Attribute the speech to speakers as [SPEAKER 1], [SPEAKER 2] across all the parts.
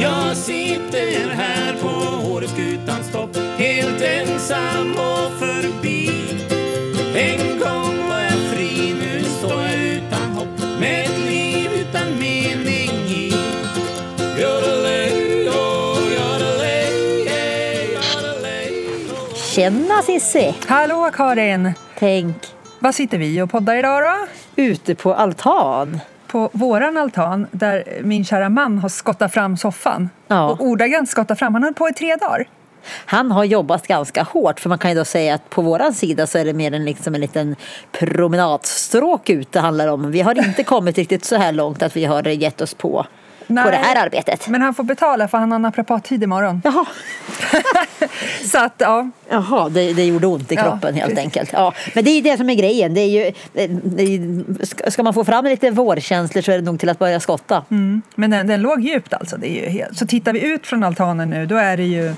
[SPEAKER 1] Jag sitter här på Åreskutans topp Helt ensam och förbi En gång var jag fri, nu står jag utan hopp Med ett liv utan mening i Yodelay, oh, yodelay, yeah, yodelay, oh.
[SPEAKER 2] Tjena Sissi!
[SPEAKER 3] Hallå Karin!
[SPEAKER 2] Tänk,
[SPEAKER 3] Vad sitter vi och poddar idag då?
[SPEAKER 2] ute på altan.
[SPEAKER 3] På våran altan där min kära man har skottat fram soffan.
[SPEAKER 2] Ja.
[SPEAKER 3] Och ordagrant skottat fram. Han höll på i tre dagar.
[SPEAKER 2] Han har jobbat ganska hårt för man kan ju då säga att på våran sida så är det mer en, liksom en liten promenadstråk ut det handlar om. Vi har inte kommit riktigt så här långt att vi har gett oss på, på det här arbetet.
[SPEAKER 3] Men han får betala för han har naprapattid imorgon.
[SPEAKER 2] Jaha,
[SPEAKER 3] så att ja,
[SPEAKER 2] Jaha det, det gjorde ont i
[SPEAKER 3] Ja,
[SPEAKER 2] kroppen helt
[SPEAKER 3] precis.
[SPEAKER 2] enkelt. Ja, men det är ju det som är grejen. Det är ju, det är, ju- ska- ska man få fram lite vårkänslor så är det nog till att börja skotta.
[SPEAKER 3] mm. men den, den låg djupt alltså. Det är ju helt... Så tittar vi ut från altanen nu då är det ju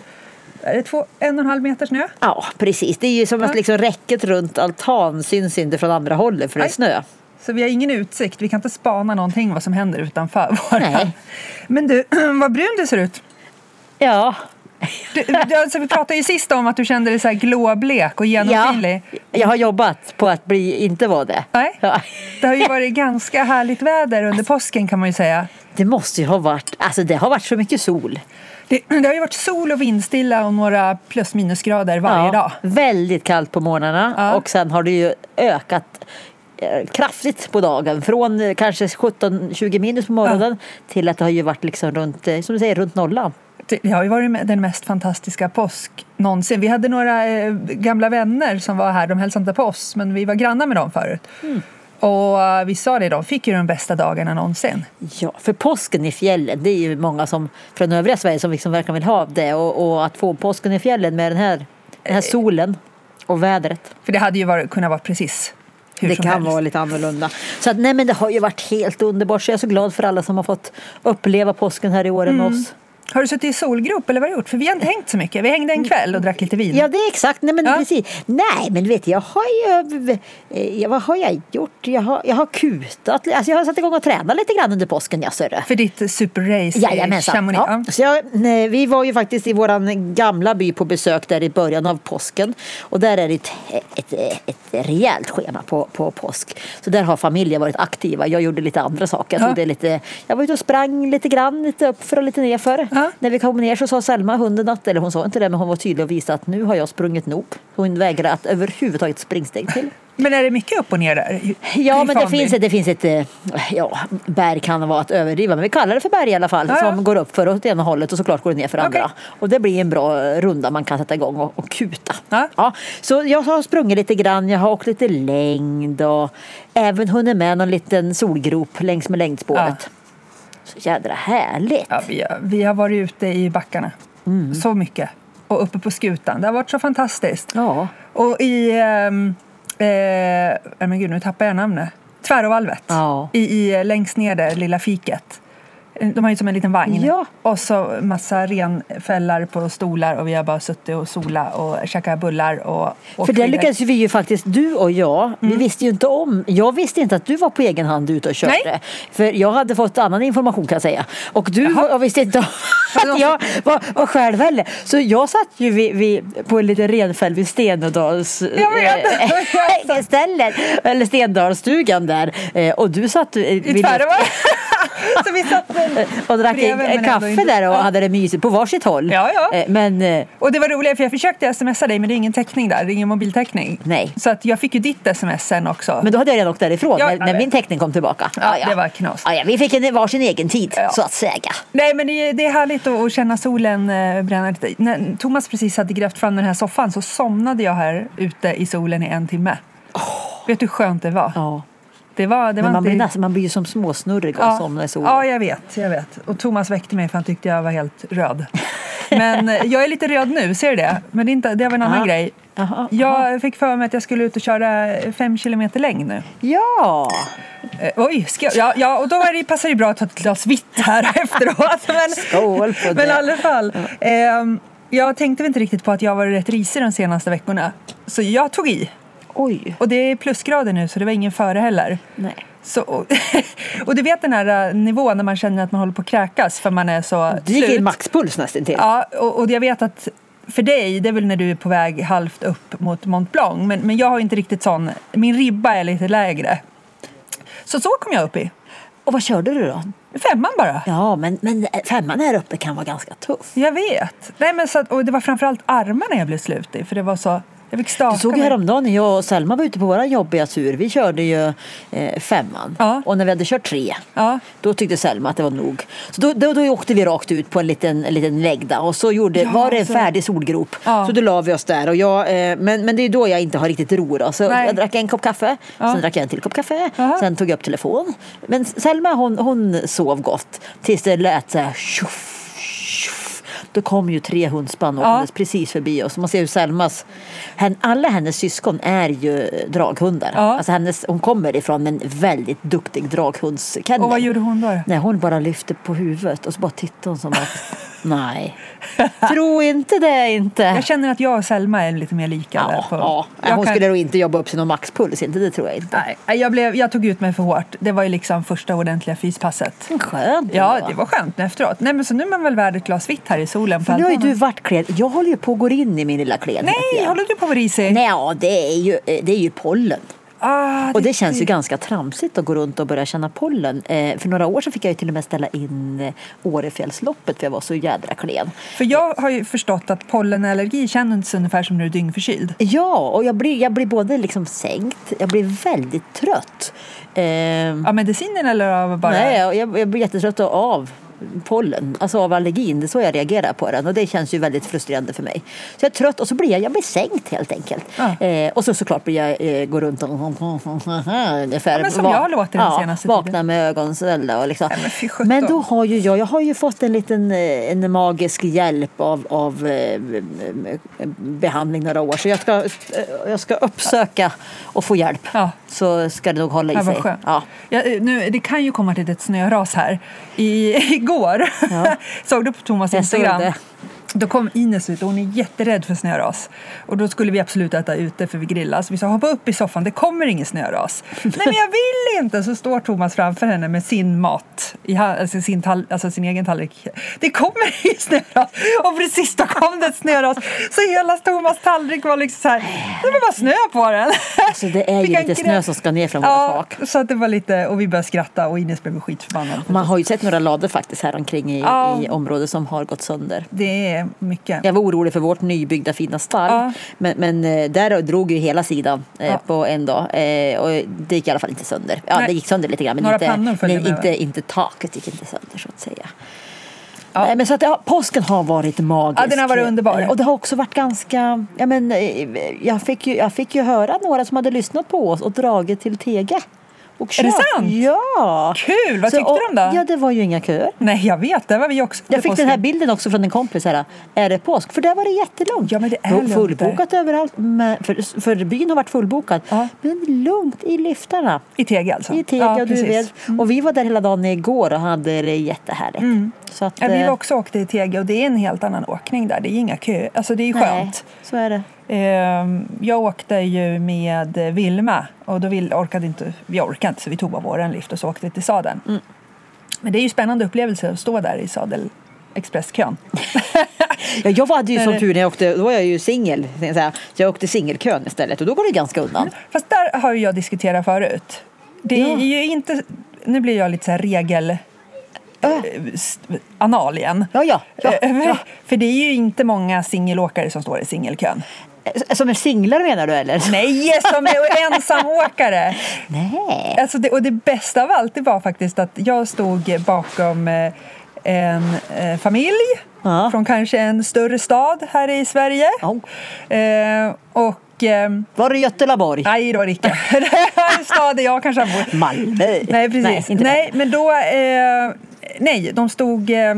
[SPEAKER 3] är det två, en och en halv meter snö.
[SPEAKER 2] Ja, precis. Det är ju som att liksom räcket runt altan syns inte från andra hållet för det är
[SPEAKER 3] Nej.
[SPEAKER 2] snö.
[SPEAKER 3] Så vi har ingen utsikt. Vi kan inte spana någonting vad som händer utanför våran.
[SPEAKER 2] Nej.
[SPEAKER 3] Men du, vad brun du ser ut.
[SPEAKER 2] Ja,
[SPEAKER 3] Du, du, alltså, vi pratade ju sist om att du kände dig så här glåblek och
[SPEAKER 2] ja.
[SPEAKER 3] genomskinlig.
[SPEAKER 2] jag har jobbat på att bli, inte vara det.
[SPEAKER 3] Nej.
[SPEAKER 2] Ja.
[SPEAKER 3] Det har ju varit ganska härligt väder under påsken kan man ju säga.
[SPEAKER 2] Det måste ju ha varit, alltså det har varit så mycket sol.
[SPEAKER 3] Det, det har ju varit sol och vindstilla och några plus minusgrader varje
[SPEAKER 2] Ja,
[SPEAKER 3] dag.
[SPEAKER 2] Väldigt kallt på morgnarna
[SPEAKER 3] Ja.
[SPEAKER 2] och sen har det ju ökat eh, kraftigt på dagen. Från eh, kanske 17-20 minus på morgonen till att det har ju varit liksom runt, eh, som du säger, runt nollan.
[SPEAKER 3] Det, det har ju varit den mest fantastiska påsk någonsin. Vi hade några eh, gamla vänner som var här, de hälsade inte på oss men vi var grannar med dem förut.
[SPEAKER 2] Mm.
[SPEAKER 3] Och eh, vi sa det, de fick ju de bästa dagarna någonsin.
[SPEAKER 2] Ja, för påsken i fjällen, det är ju många som från övriga Sverige som liksom verkar vilja ha det och, och att få påsken i fjällen med den här, den här solen och vädret.
[SPEAKER 3] För det hade ju varit, kunnat vara precis hur
[SPEAKER 2] det
[SPEAKER 3] som
[SPEAKER 2] kan
[SPEAKER 3] helst.
[SPEAKER 2] vara lite annorlunda. Så att, nej men det har ju varit helt underbart så jag är så glad för alla som har fått uppleva påsken här i år
[SPEAKER 3] Mm.
[SPEAKER 2] med oss.
[SPEAKER 3] Har du suttit i solgrop eller vad har du gjort? För vi har inte hängt så mycket. Vi hängde en kväll och drack lite vin.
[SPEAKER 2] Ja, det är exakt. Nej, men
[SPEAKER 3] Ja.
[SPEAKER 2] precis. Nej, men vet jag har ju... eh, Ja, vad har jag gjort? Jag har, jag har kutat. Alltså, jag har satt igång och tränat lite grann under påsken, jag sörre.
[SPEAKER 3] För ditt superrace i
[SPEAKER 2] Jajamensan.
[SPEAKER 3] Chamonix.
[SPEAKER 2] Ja. Så jag, nej, vi var ju faktiskt i vår gamla by på besök där i början av påsken. Och där är det ett, ett, ett rejält schema på, på påsk. Så där har familjen varit aktiva. Jag gjorde lite andra saker. Jag,
[SPEAKER 3] Ja.
[SPEAKER 2] tog det lite, jag var ute och sprang lite grann, lite uppför och lite nerför.
[SPEAKER 3] Ja.
[SPEAKER 2] När vi kom ner så sa Selma, hunden, att, eller hon sa inte det, men hon var tydlig och visade att nu har jag sprungit nog. Hon vägrade att överhuvudtaget springsteg till.
[SPEAKER 3] Men är det mycket upp och ner där? i-
[SPEAKER 2] Ja,
[SPEAKER 3] i
[SPEAKER 2] men det
[SPEAKER 3] Fanby?
[SPEAKER 2] finns, ett- det finns ett, eh, ja, berg kan vara att överdriva, men vi kallar det för berg i alla fall,
[SPEAKER 3] Ja, ja.
[SPEAKER 2] som går upp för åt ena hållet och såklart går det ner för andra.
[SPEAKER 3] Okej.
[SPEAKER 2] Och det blir en bra eh, runda man kan sätta igång och, och kuta.
[SPEAKER 3] Ja.
[SPEAKER 2] så jag har sprungit lite grann, jag har åkt lite längd och även hunnit med någon liten solgrop längs med längdspåret. Så jädra härligt.
[SPEAKER 3] Ja, vi, har- vi har varit ute i backarna.
[SPEAKER 2] Mm.
[SPEAKER 3] Så mycket. Och uppe på skutan. Det har varit så fantastiskt.
[SPEAKER 2] Ja.
[SPEAKER 3] Och i... ehm, Eh, nej, men gud, nu tappar jag namnet. Tvärovalvet.
[SPEAKER 2] Ja.
[SPEAKER 3] I, i, längst ner där, lilla fiket. Eh, De har ju som en liten vagn.
[SPEAKER 2] Ja.
[SPEAKER 3] Och så massa renfällar på stolar och vi har bara suttit och sola och käkat bullar och åkt
[SPEAKER 2] För det
[SPEAKER 3] skidor.
[SPEAKER 2] lyckades ju vi ju faktiskt, du och jag,
[SPEAKER 3] Mm.
[SPEAKER 2] vi visste ju inte om, jag visste inte att du var på egen hand ute och körde.
[SPEAKER 3] Nej.
[SPEAKER 2] För jag hade fått annan information kan jag säga. Och du var, jag visste inte om att jag var, var själv heller. Så jag satt ju vid, vid, på en liten renfäll vid Stendals
[SPEAKER 3] Jag vet.
[SPEAKER 2] eh, stället, eller Stendalsstugan där. Eh, Och du satt eh,
[SPEAKER 3] I
[SPEAKER 2] vid-
[SPEAKER 3] Tvärovalvet. så vi satt väl
[SPEAKER 2] och drack en,
[SPEAKER 3] bredvid,
[SPEAKER 2] en
[SPEAKER 3] men ändå
[SPEAKER 2] kaffe
[SPEAKER 3] inte-
[SPEAKER 2] där och
[SPEAKER 3] Ja.
[SPEAKER 2] hade det mysigt på varsitt håll.
[SPEAKER 3] Ja, ja.
[SPEAKER 2] Eh, Men eh,
[SPEAKER 3] Och det var roligt för jag försökte smsa dig men det är ingen täckning där, det är ingen mobiltäckning.
[SPEAKER 2] Nej.
[SPEAKER 3] Så att jag fick ju ditt sms sen också.
[SPEAKER 2] Men då hade jag redan åkt därifrån
[SPEAKER 3] Ja,
[SPEAKER 2] när,
[SPEAKER 3] jag
[SPEAKER 2] när
[SPEAKER 3] vet.
[SPEAKER 2] min teckning kom tillbaka.
[SPEAKER 3] Ja, det var knas.
[SPEAKER 2] Ja, ja, vi fick en varsin egen tid,
[SPEAKER 3] Ja.
[SPEAKER 2] så att säga.
[SPEAKER 3] Nej men det är, det är härligt att, att känna solen eh, bränna lite. När Thomas precis hade grävt fram den här soffan så somnade jag här ute i solen i en timme. Vet du hur skönt det var?
[SPEAKER 2] Ja.
[SPEAKER 3] Det var, det var
[SPEAKER 2] Men man blir,
[SPEAKER 3] inte...
[SPEAKER 2] nästan, man blir ju som småsnurrig av att somna i solen.
[SPEAKER 3] Ja, jag vet, jag vet. Och Thomas väckte mig för han tyckte jag var helt röd. Men eh, jag är lite röd nu, ser du det? Men det, är inte, det var en annan
[SPEAKER 2] Ja.
[SPEAKER 3] grej.
[SPEAKER 2] Jaha,
[SPEAKER 3] Jag fick för mig att jag skulle ut och köra fem kilometer längd nu.
[SPEAKER 2] ja.
[SPEAKER 3] Eh, oj, ska jag, ja, ja, och då är det, passar det ju bra att ta ett glas vitt här efteråt. Men,
[SPEAKER 2] Skål på
[SPEAKER 3] Men i
[SPEAKER 2] det.
[SPEAKER 3] alla fall. ehm, jag tänkte väl inte riktigt på att jag var rätt risig de senaste veckorna. Så jag tog i.
[SPEAKER 2] Oj.
[SPEAKER 3] Och det är plusgrader nu så det var ingen före heller.
[SPEAKER 2] Nej.
[SPEAKER 3] Så, och, och du vet den här äh, nivån när man känner att man håller på att kräkas för man är så
[SPEAKER 2] Det gick i maxpuls nästan till.
[SPEAKER 3] Ja, och, och jag vet att för dig, det är väl när du är på väg halvt upp mot Mont Blanc. Men, men jag har inte riktigt sån, min ribba är lite lägre. Så så kom jag upp i.
[SPEAKER 2] Och vad körde du då?
[SPEAKER 3] Femman bara.
[SPEAKER 2] Ja, men, men femman här uppe kan vara ganska tuff.
[SPEAKER 3] Jag vet. Nej, men så att, och det var framförallt armarna jag blev slut i. För det var så, jag fick staka
[SPEAKER 2] Du såg ju
[SPEAKER 3] mig.
[SPEAKER 2] häromdagen när jag och Selma var ute på våra jobbiga tur. Vi körde ju eh, femman.
[SPEAKER 3] Ja.
[SPEAKER 2] Och när vi hade kört tre,
[SPEAKER 3] Ja.
[SPEAKER 2] då tyckte Selma att det var nog. Så då, då, då åkte vi rakt ut på en liten, en liten läggda. Och så gjorde,
[SPEAKER 3] Ja,
[SPEAKER 2] var det en
[SPEAKER 3] så-
[SPEAKER 2] färdig solgrop.
[SPEAKER 3] Ja.
[SPEAKER 2] Så då la vi oss där. Och jag, eh, men, men det är ju då jag inte har riktigt ro. Då. Så
[SPEAKER 3] Nej.
[SPEAKER 2] jag drack en kopp kaffe,
[SPEAKER 3] Ja.
[SPEAKER 2] sen drack jag en till kopp kaffe.
[SPEAKER 3] Jaha.
[SPEAKER 2] Sen tog jag upp telefon. Men Selma hon, hon sov gott. Tills det lät så här tjoff, tjoff. Då kom ju tre hundspann och
[SPEAKER 3] Ja.
[SPEAKER 2] åktes precis förbi oss. Man ser hur Selmas, hen, alla hennes syskon är ju draghundar.
[SPEAKER 3] Ja.
[SPEAKER 2] Alltså hennes, hon kommer ifrån en väldigt duktig draghundskennel.
[SPEAKER 3] Och vad gjorde hon då?
[SPEAKER 2] Nej, hon bara lyfte på huvudet och så bara tittade hon som att nej, tro inte det inte.
[SPEAKER 3] Jag känner att jag och Selma är lite mer lika. där
[SPEAKER 2] Ja,
[SPEAKER 3] på,
[SPEAKER 2] ja.
[SPEAKER 3] Jag
[SPEAKER 2] Hon
[SPEAKER 3] kan-
[SPEAKER 2] skulle nog inte jobba upp sin någon maxpuls, inte det tror jag inte.
[SPEAKER 3] Nej, jag, blev, jag tog ut mig för hårt. Det var ju liksom första ordentliga fyspasset.
[SPEAKER 2] Skönt
[SPEAKER 3] Ja,
[SPEAKER 2] ändå.
[SPEAKER 3] det var skönt efteråt. Nej, men så nu är man väl värd ett glas vitt här i solen. På
[SPEAKER 2] För nu har ju
[SPEAKER 3] altanen.
[SPEAKER 2] du varit klädd. Jag håller ju på att gå in i min lilla klädhet.
[SPEAKER 3] Nej,
[SPEAKER 2] igen.
[SPEAKER 3] håller du på att vara risig?
[SPEAKER 2] Nej, ja, det är ju, eh, det är ju pollen.
[SPEAKER 3] Ah,
[SPEAKER 2] Och det känns ju ganska tramsigt att gå runt och börja känna pollen. Eh, för några år så fick jag ju till och med ställa in eh, Årefjällsloppet för jag var så jädra klen.
[SPEAKER 3] För jag har ju förstått att pollenallergi känns ungefär som när du är dyngförkyld.
[SPEAKER 2] Ja, och jag blir, jag blir både liksom sänkt, jag blir väldigt trött. Eh,
[SPEAKER 3] Av medicinen eller av bara...
[SPEAKER 2] Nej, jag, jag, jag blir jättetrött av pollen, alltså av allergin. Det är så jag reagerar på den och det känns ju väldigt frustrerande för mig. Så jag är trött och så blir jag, jag blir sänkt helt enkelt.
[SPEAKER 3] Ja.
[SPEAKER 2] Eh, och så såklart blir jag, eh, går runt och ungefär.
[SPEAKER 3] Ja, men som
[SPEAKER 2] va-
[SPEAKER 3] jag låter den
[SPEAKER 2] ja,
[SPEAKER 3] senaste
[SPEAKER 2] vakna
[SPEAKER 3] tiden.
[SPEAKER 2] med ögonsvällda och liksom.
[SPEAKER 3] Nej, men fy sjutton.
[SPEAKER 2] men då har ju jag, jag har ju fått en liten eh, en magisk hjälp av, av eh, eh, behandling några år. Så jag ska, eh, jag ska uppsöka och få hjälp.
[SPEAKER 3] Ja.
[SPEAKER 2] Så ska det nog hålla i
[SPEAKER 3] Ja,
[SPEAKER 2] sig.
[SPEAKER 3] vad skönt.
[SPEAKER 2] Ja.
[SPEAKER 3] Ja, eh, nu, det kan ju komma ett litet snöras här. I, igår
[SPEAKER 2] Ja.
[SPEAKER 3] såg du på Thomas
[SPEAKER 2] Jag såg
[SPEAKER 3] Instagram.
[SPEAKER 2] det.
[SPEAKER 3] Då kom Ines ut och hon är jätterädd för snöras. Och då skulle vi absolut äta ute för vi grillar. Så vi sa hoppa upp i soffan, det kommer ingen snöras. Nej men jag vill inte! Så står Thomas framför henne med sin mat, i, ha- alltså, sin, tall, alltså sin egen tallrik. Det kommer ingen snöras! Och precis då kom det ett snöras. Så hela Thomas tallrik var liksom så här, det var bara snö på den.
[SPEAKER 2] Så Alltså, det är ju
[SPEAKER 3] Vilken
[SPEAKER 2] lite snö
[SPEAKER 3] grä-
[SPEAKER 2] som ska ner från våra
[SPEAKER 3] Ja,
[SPEAKER 2] tak.
[SPEAKER 3] så att det var lite, och vi började skratta och Ines blev skitförbannad.
[SPEAKER 2] Man har ju sett några lador faktiskt här omkring i,
[SPEAKER 3] Ja.
[SPEAKER 2] i området som har gått sönder.
[SPEAKER 3] Det är mycket.
[SPEAKER 2] Jag var orolig för vårt nybyggda fina stall.
[SPEAKER 3] Ja.
[SPEAKER 2] Men, men eh, där drog ju hela sidan eh,
[SPEAKER 3] Ja.
[SPEAKER 2] på en dag. Eh, och det gick i alla fall inte sönder. Ja,
[SPEAKER 3] Nej.
[SPEAKER 2] det gick sönder lite grann. Men
[SPEAKER 3] Några pannor
[SPEAKER 2] inte,
[SPEAKER 3] följde
[SPEAKER 2] men
[SPEAKER 3] med, va?
[SPEAKER 2] inte, inte taket gick inte sönder så att säga.
[SPEAKER 3] Ja.
[SPEAKER 2] Nej, men så att, ja, påsken har varit magisk.
[SPEAKER 3] Ja, den har varit underbar.
[SPEAKER 2] Eh, Och det har också varit ganska... Ja, men, eh, jag, fick ju, jag fick ju höra några som hade lyssnat på oss och dragit till Tege. Och
[SPEAKER 3] Är det
[SPEAKER 2] kört.
[SPEAKER 3] sant?
[SPEAKER 2] Ja!
[SPEAKER 3] Kul! Vad tyckte de då?
[SPEAKER 2] Ja, det var ju inga köer.
[SPEAKER 3] Nej, jag vet. Där var vi också
[SPEAKER 2] Jag
[SPEAKER 3] under
[SPEAKER 2] fick den
[SPEAKER 3] påsken.
[SPEAKER 2] här bilden också från en kompis. Här, är det påsk? För där var det jättelångt.
[SPEAKER 3] Ja, men det är
[SPEAKER 2] Full-
[SPEAKER 3] lugnt där.
[SPEAKER 2] Fullbokat överallt. Men för, för byn har varit fullbokad.
[SPEAKER 3] Ja.
[SPEAKER 2] Men lugnt i liftarna.
[SPEAKER 3] I Tege alltså?
[SPEAKER 2] I Tega och Duved. Och vi var där hela dagen igår och hade det jättehärligt. Så att,
[SPEAKER 3] Ja, vi
[SPEAKER 2] eh,
[SPEAKER 3] var också åkte i Tege och det är en helt annan åkning där. Det är inga köer. Alltså det är ju skönt.
[SPEAKER 2] Nej, så är det.
[SPEAKER 3] Ehm, Jag åkte ju med eh, Vilma och då vill, orkade inte, vi orkade inte så vi tog bara våran lift och så åkte vi till sadeln.
[SPEAKER 2] Mm.
[SPEAKER 3] Men det är ju spännande upplevelse att stå där i sadelexpresskön.
[SPEAKER 2] Ja, jag hade ju
[SPEAKER 3] Nej,
[SPEAKER 2] som
[SPEAKER 3] det-
[SPEAKER 2] tur när jag åkte, då var jag ju singel. så jag säga. Så jag åkte singelkön istället och då går det ganska undan.
[SPEAKER 3] Fast där har ju jag diskuterat förut. Det är
[SPEAKER 2] Ja.
[SPEAKER 3] ju inte, nu blir jag lite så här regel... eh, s- anal igen.
[SPEAKER 2] Ja, ja, ja,
[SPEAKER 3] Eh,
[SPEAKER 2] ja.
[SPEAKER 3] För det är ju inte många singelåkare som står i singelkön.
[SPEAKER 2] Eh, Som en singlare menar du eller?
[SPEAKER 3] Nej, som är ensamåkare!
[SPEAKER 2] Nej.
[SPEAKER 3] Alltså det, och det bästa av allt det var faktiskt att jag stod bakom eh, en eh, familj
[SPEAKER 2] Ja.
[SPEAKER 3] från kanske en större stad här i Sverige.
[SPEAKER 2] Ja.
[SPEAKER 3] Eh, och... ehm,
[SPEAKER 2] Var det Götelaborg?
[SPEAKER 3] Nej då, Ricka. Det här är en stad där jag kanske har bott.
[SPEAKER 2] Malmö?
[SPEAKER 3] Nej, precis.
[SPEAKER 2] inte
[SPEAKER 3] Nej, men då... Eh, nej, de stod... Eh,